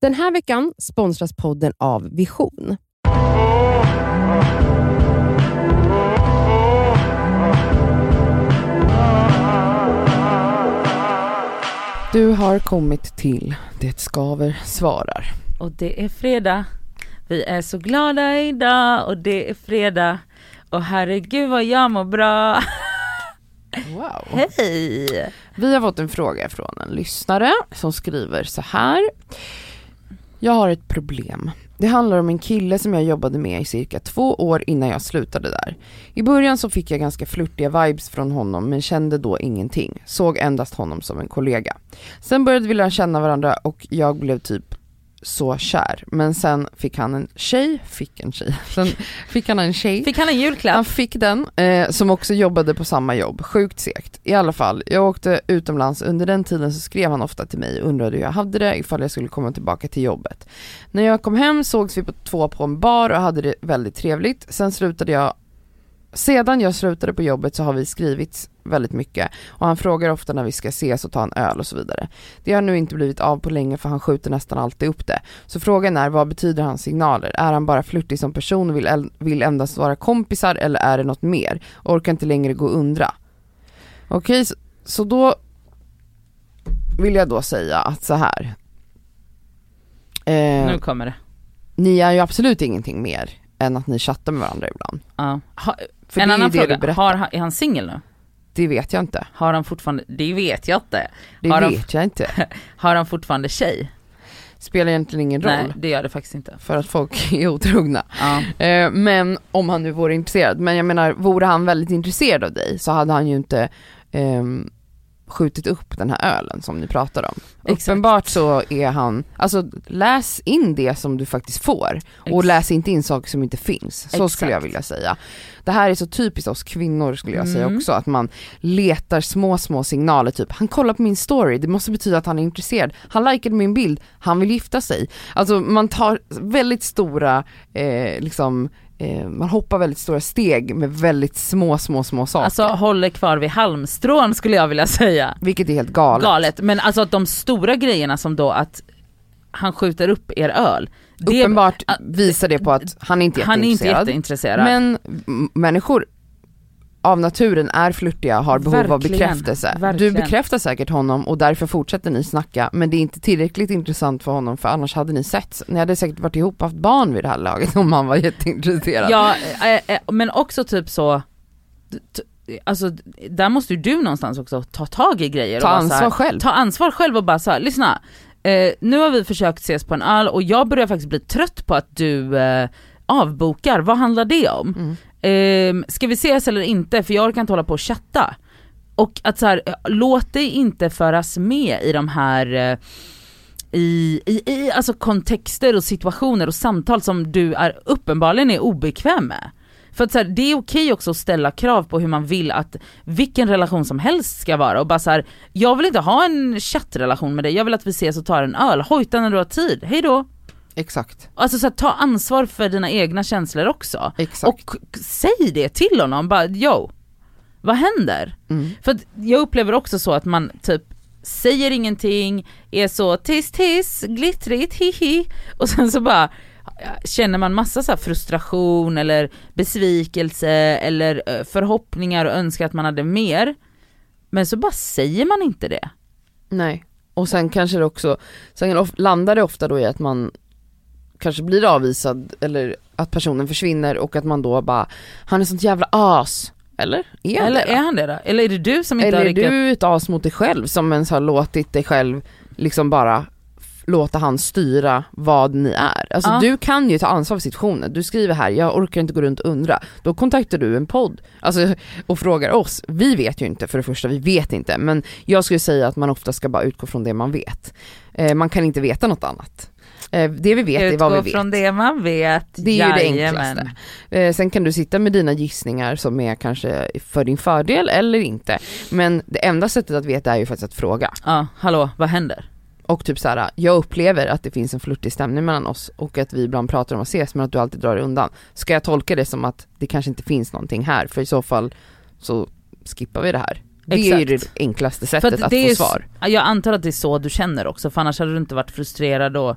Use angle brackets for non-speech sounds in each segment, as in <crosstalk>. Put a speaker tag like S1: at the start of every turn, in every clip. S1: Den här veckan sponsras podden av Vision. Du har kommit till Det skaver svarar.
S2: Och det är fredag. Vi är så glada idag och det är fredag. Och herregud vad jag mår bra. <laughs>
S1: Wow.
S2: Hej!
S1: Vi har fått en fråga från en lyssnare som skriver så här. Jag har ett problem. Det handlar om en kille som jag jobbade med i cirka två år innan jag slutade där. I början så fick jag ganska flörtiga vibes från honom men kände då ingenting. Såg endast honom som en kollega. Sen började vi lära känna varandra och jag blev typ så kär. Men sen fick han en tjej, fick en tjej, sen fick han en tjej.
S2: Fick han en
S1: Han
S2: julklapp?
S1: fick den, eh, som också jobbade på samma jobb. Sjukt segt. I alla fall, jag åkte utomlands. Under den tiden så skrev han ofta till mig och undrade hur jag hade det, ifall jag skulle komma tillbaka till jobbet. När jag kom hem sågs vi på två på en bar och hade det väldigt trevligt. Sen slutade jag sedan jag slutade på jobbet så har vi skrivit väldigt mycket och han frågar ofta när vi ska ses och ta en öl och så vidare. Det har nu inte blivit av på länge för han skjuter nästan alltid upp det. Så frågan är vad betyder hans signaler? Är han bara flörtig som person och vill, el- vill endast vara kompisar eller är det något mer? Orkar inte längre gå och undra. Okej, så, så då vill jag då säga att så här. Eh,
S2: Nu kommer det.
S1: ni är ju absolut ingenting mer än att ni chattar med varandra ibland.
S2: Ja. Ha,
S1: För
S2: en
S1: det är ju
S2: annan
S1: det du
S2: fråga,
S1: berättar.
S2: har han, är han singel nu?
S1: Det vet jag inte.
S2: Har han fortfarande, det vet jag inte.
S1: Det
S2: Har de-
S1: vet jag inte.
S2: Har han fortfarande tjej?
S1: Spelar egentligen ingen roll.
S2: Nej det gör det faktiskt inte.
S1: För att folk <laughs> är otrogna.
S2: Ja.
S1: Eh, men om han nu vore intresserad. Men jag menar, vore han väldigt intresserad av dig så hade han ju inte ehm, skjutit upp den här ölen som ni pratar om.
S2: Exakt.
S1: Uppenbart så är han, alltså läs in det som du faktiskt får och
S2: Ex-
S1: läs inte in saker som inte finns. Så skulle jag
S2: Exakt.
S1: vilja säga. Det här är så typiskt oss kvinnor skulle jag säga
S2: Mm.
S1: också, att man letar små, små signaler. Typ, han kollar på min story, det måste betyda att han är intresserad. Han likade min bild, han vill gifta sig. Alltså man tar väldigt stora, eh, liksom, eh, man hoppar väldigt stora steg med väldigt små, små, små saker.
S2: Alltså håller kvar vid halmstrån skulle jag vilja säga.
S1: vilket är helt galet.
S2: Galet. Men alltså att de stora grejerna som då att han skjuter upp er öl. Det,
S1: Uppenbart visar det på att han inte är
S2: han är inte
S1: jätteintresserad.
S2: jätteintresserad.
S1: Men m- människor av naturen är flörtiga, har behov av
S2: Verkligen,
S1: bekräftelse.
S2: verkligen.
S1: Du bekräftar säkert honom och därför fortsätter ni snacka men det är inte tillräckligt intressant för honom för annars hade ni sett. Ni hade säkert varit ihop och haft barn vid det här laget om han var jätteintresserad.
S2: Ja, eh, eh, men också typ så, t- alltså där måste ju du någonstans också ta tag i grejer.
S1: Ta
S2: och bara så
S1: ansvar
S2: här,
S1: själv.
S2: Ta ansvar själv och bara så här, lyssna. Eh, nu har vi försökt ses på en öl och jag börjar faktiskt bli trött på att du eh, avbokar, vad handlar det om?
S1: Mm.
S2: Eh, ska vi ses eller inte? För jag orkar inte hålla på och chatta. Och att så här, eh, låt dig inte föras med i de här eh, i, i, i alltså kontexter och situationer och samtal som du är uppenbarligen är obekväm med. För att så här, det är okej också att ställa krav på hur man vill att vilken relation som helst ska vara och bara så här, jag vill inte ha en chattrelation med dig, jag vill att vi ses och tar en öl, hojta när du har tid, hej då.
S1: Exakt,
S2: Alltså så här, ta ansvar för dina egna känslor också.
S1: exakt.
S2: Och k- säg det till honom, bara yo, vad händer?
S1: mm.
S2: För att jag upplever också så att man typ säger ingenting, är så tiss tiss, glittrigt, hihi och sen så bara känner man massa så här frustration eller besvikelse eller eh, förhoppningar och önskar att man hade mer. Men så bara säger man inte det.
S1: Nej. Och sen kanske det också, sen of- landar det ofta då i att man kanske blir avvisad eller att personen försvinner och att man då bara, han är sånt jävla as. Eller? Är han
S2: eller
S1: det då?
S2: är han det då? Eller är det du som inte
S1: Eller
S2: har
S1: är
S2: riktigt...
S1: du ett as mot dig själv som ens har låtit dig själv liksom bara f- låta han styra vad ni är. Alltså
S2: Ja.
S1: du kan ju ta ansvar för situationen. Du skriver här, jag orkar inte gå runt och undra. Då kontaktar du en podd alltså, och frågar oss. Vi vet ju inte för det första, vi vet inte. Men jag skulle säga att man ofta ska bara utgå från det man vet. Eh, man kan inte veta något annat. Eh, det vi vet är vad vi
S2: Utgå
S1: vet.
S2: från det man vet.
S1: Det är ju det
S2: Jajamän.
S1: enklaste. Eh, sen kan du sitta med dina gissningar som är kanske för din fördel eller inte. Men det enda sättet att veta är ju faktiskt att fråga.
S2: Ja, hallå, vad händer?
S1: Och typ så här, jag upplever att det finns en flörtig stämning mellan oss och att vi ibland pratar om att ses men att du alltid drar dig undan. Ska jag tolka det som att det kanske inte finns någonting här? För i så fall så skippar vi det här. Det är ju det
S2: Exakt.
S1: enklaste
S2: För
S1: sättet att,
S2: det är
S1: få
S2: ju-
S1: svar.
S2: Jag antar att det är så du känner också, för annars hade du inte varit frustrerad och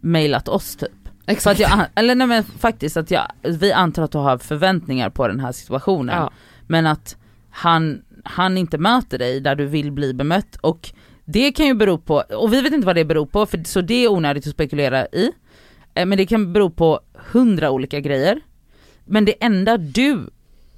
S2: mejlat oss typ. För
S1: Exakt.
S2: att jag, an- eller nej men faktiskt att jag, vi antar att du har förväntningar på den här situationen.
S1: ja.
S2: Men att han, han inte möter dig där du vill bli bemött och det kan ju bero på, och vi vet inte vad det beror på, för, så det är onödigt att spekulera i. Eh, Men det kan bero på hundra olika grejer. Men det enda du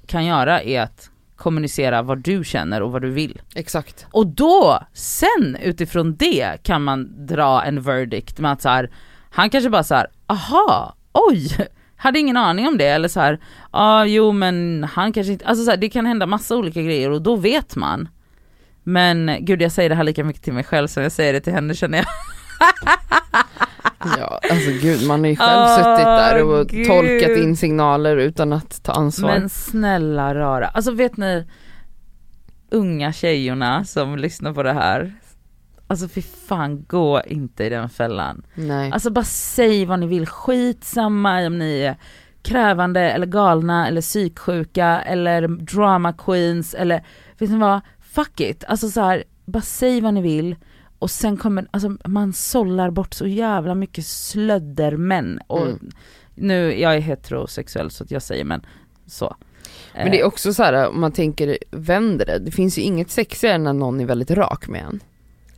S2: kan göra är att kommunicera vad du känner och vad du vill.
S1: Exakt.
S2: Och då, sen utifrån det kan man dra en verdict med att så här, han kanske bara så här, aha, oj, <laughs> hade ingen aning om det eller så här, ja ah, jo men han kanske inte, alltså så här, det kan hända massa olika grejer och då vet man. Men gud jag säger det här lika mycket till mig själv som jag säger det till henne känner jag.
S1: Ja, alltså gud man har ju själv
S2: Ah. Åh,
S1: suttit där och
S2: gud.
S1: tolkat in signaler utan att ta ansvar.
S2: <laughs> Men snälla rara, alltså vet ni unga tjejorna som lyssnar på det här, alltså fy fan gå inte i den fällan.
S1: Nej.
S2: Alltså bara säg vad ni vill, skitsamma om ni är krävande eller galna eller psyksjuka eller drama queens eller vet ni vad, fuck it. Alltså så här, bara säg vad ni vill och sen kommer, alltså man sållar bort så jävla mycket slöddermän och
S1: Mm.
S2: nu, jag är heterosexuell så att jag säger men så. Eh,
S1: Men det är också så här om man tänker vänder det, det finns ju inget sexigare än när någon är väldigt rak med en.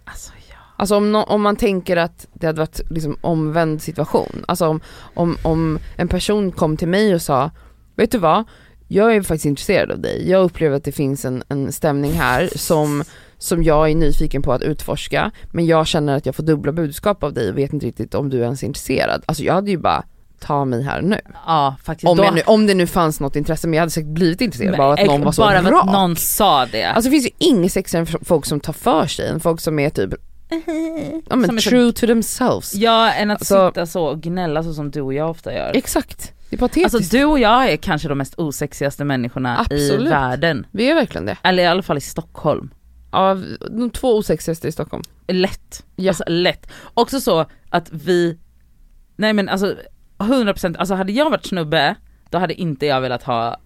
S2: Alltså ja.
S1: Alltså om, nå- om man tänker att det hade varit liksom omvänd situation, alltså om, om, om en person kom till mig och sa, vet du vad, jag är faktiskt intresserad av dig, jag upplever att det finns en, en stämning här som, som jag är nyfiken på att utforska, men jag känner att jag får dubbla budskap av dig och vet inte riktigt om du ens är intresserad. Alltså jag hade ju bara, ta mig här nu.
S2: Ja faktiskt.
S1: Om,
S2: Då-
S1: jag nu, om det nu fanns något intresse, men jag hade säkert blivit intresserad bara av att
S2: Men-
S1: någon var så
S2: Bara av
S1: rak.
S2: att någon sa det.
S1: Alltså det finns ju inget sexigare än folk som tar för sig, än folk som är typ ja, men
S2: Som är så-
S1: true to themselves.
S2: ja än att
S1: Alltså-
S2: sitta så och gnälla så som du och jag ofta gör.
S1: Exakt, det är patetiskt.
S2: Alltså du och jag är kanske de mest osexigaste människorna i
S1: Absolut.
S2: världen.
S1: vi är verkligen det.
S2: Eller i alla fall i Stockholm.
S1: Av de två osexigaste i Stockholm.
S2: Lätt.
S1: Ja.
S2: Alltså lätt. Också så att vi, nej men alltså 100%, alltså hade jag varit snubbe då hade inte jag velat ha,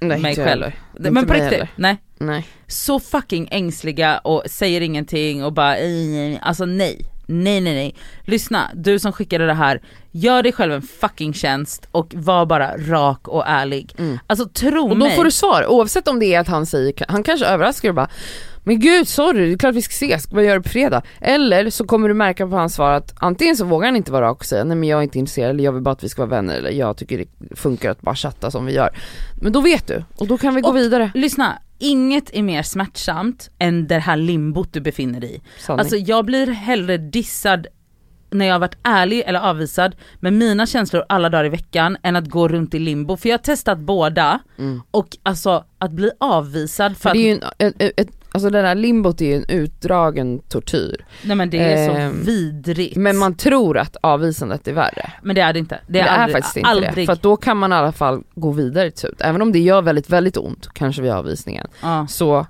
S1: Nej,
S2: Mig
S1: inte
S2: själv.
S1: heller. Inte
S2: men på
S1: mig
S2: riktigt,
S1: heller.
S2: nej.
S1: Nej.
S2: Så fucking ängsliga och säger ingenting och bara, "Ej, ej, ej." alltså nej. Nej nej nej. Lyssna, du som skickade det här, gör dig själv en fucking tjänst och var bara rak och ärlig.
S1: Mm.
S2: Alltså tro
S1: Och då
S2: mig.
S1: får du svar, oavsett om det är att han säger, han kanske överraskar och bara men gud sorry, det är klart vi ska ses, vad gör du på fredag? Eller så kommer du märka på hans svar att antingen så vågar han inte vara rak och säga nej men jag är inte intresserad eller jag vill bara att vi ska vara vänner eller jag tycker det funkar att bara chatta som vi gör. Men då vet du och då kan vi gå
S2: Och-
S1: vidare.
S2: Lyssna, inget är mer smärtsamt än det här limbot du befinner dig i.
S1: Sanning.
S2: Alltså jag blir hellre dissad när jag har varit ärlig eller avvisad med mina känslor alla dagar i veckan än att gå runt i limbo. För jag har testat båda
S1: Mm.
S2: och alltså att bli avvisad för
S1: För
S2: att,
S1: det är ju en, ett, ett, alltså det där limbot är ju en utdragen tortyr.
S2: nej men det är så
S1: Ehm,
S2: vidrigt.
S1: Men man tror att avvisandet är värre.
S2: Men det är det inte. Det
S1: Det
S2: är,
S1: är,
S2: aldrig,
S1: faktiskt inte
S2: aldrig.
S1: det. För att då kan man i alla fall gå vidare till slut. Även om det gör väldigt, väldigt ont, kanske vid avvisningen,
S2: ja.
S1: så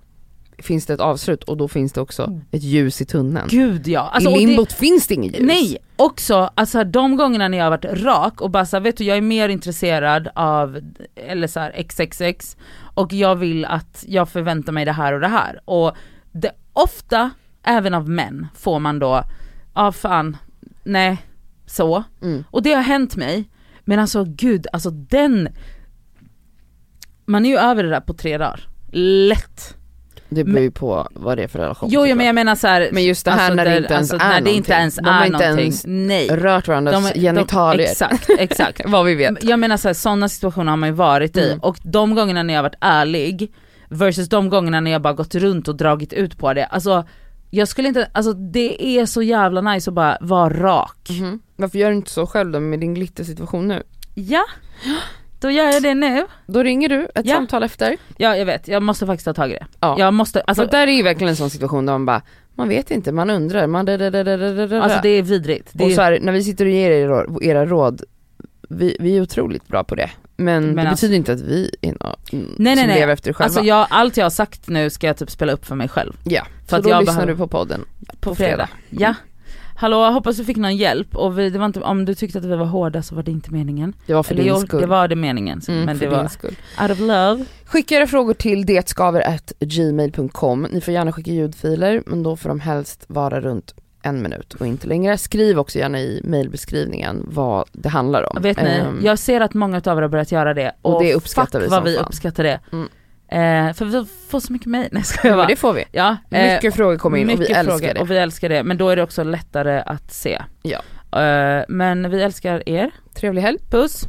S1: finns det ett avslut och då finns det också ett ljus i tunneln.
S2: Mm. Gud ja. Alltså, och
S1: I
S2: det-
S1: limbot finns det inget ljus.
S2: Nej, också alltså de gångerna när jag har varit rak och bara så här, vet du jag är mer intresserad av eller så här, XXX och jag vill att jag förväntar mig det här och det här. Och det, ofta, även av män, får man då, ja ah, fan, nej, så.
S1: Mm.
S2: Och det har hänt mig, men alltså gud, alltså den, man är ju över det där på tre dagar. Lätt.
S1: Det beror ju på vad det är för relation.
S2: Jo, jo
S1: såklart.
S2: men jag menar så här, alltså,
S1: Men just det här när det
S2: där-
S1: inte ens är
S2: när det inte
S1: någonting.
S2: ens
S1: De har
S2: är
S1: inte
S2: någonting.
S1: ens
S2: nej.
S1: Rört varandras genitalier. <laughs>
S2: Exakt, exakt.
S1: vad vi vet.
S2: Jag menar såhär, sådana situationer har man ju varit i
S1: Mm.
S2: och de gångerna när jag har varit ärlig versus de gångerna när jag bara gått runt och dragit ut på det, alltså jag skulle inte, alltså det är så jävla nice att bara vara rak.
S1: Mhm. Varför gör du inte så själv då med din glittersituation nu?
S2: Ja, då gör jag det nu.
S1: Då ringer du ett
S2: Ja.
S1: samtal efter.
S2: Ja jag vet, jag måste faktiskt ta tag i det.
S1: Ja.
S2: Jag måste, alltså,
S1: För där är ju verkligen en sån situation där man bara, man vet inte, man undrar, man
S2: alltså det är vidrigt. Det
S1: Och så
S2: är,
S1: här, när vi sitter och ger er rå- era råd, vi, vi är otroligt bra på det. Men,
S2: Men
S1: det
S2: alltså-
S1: betyder inte att vi är några mm,
S2: Nej, nej,
S1: som
S2: nej.
S1: lever efter det själva.
S2: alltså jag, allt jag har sagt nu ska jag typ spela upp för mig själv.
S1: ja.
S2: för
S1: Så
S2: att
S1: då
S2: jag
S1: lyssnar
S2: behöver-
S1: du på podden
S2: på fredag. Ja. Hallå, jag hoppas du fick någon hjälp och vi, det var inte, om du tyckte att vi var hårda så var det inte meningen.
S1: Det var för
S2: Eller
S1: din
S2: jo,
S1: skull.
S2: det var det meningen. så-
S1: Mm,
S2: men
S1: för
S2: det var
S1: din skull.
S2: out of love.
S1: Skicka era frågor till detskaver.gmail.com. Ni får gärna skicka ljudfiler men då får de helst vara runt en minut och inte längre. Skriv också gärna i mejlbeskrivningen vad det handlar om.
S2: Vet ni,
S1: Ehm,
S2: jag ser att många av er har börjat göra det och,
S1: och det uppskattar
S2: fuck
S1: vi
S2: vad
S1: som
S2: vi
S1: fan.
S2: uppskattar det.
S1: Mm.
S2: Eh, för vi får så mycket mejl, nej jag skojar
S1: men
S2: bara.
S1: det får vi.
S2: Ja, eh,
S1: Mycket frågor kommer in och vi
S2: mycket
S1: älskar
S2: frågor,
S1: det.
S2: Och vi älskar det, men då är det också lättare att se.
S1: Ja.
S2: Eh, men vi älskar er,
S1: Trevlig helg.
S2: puss!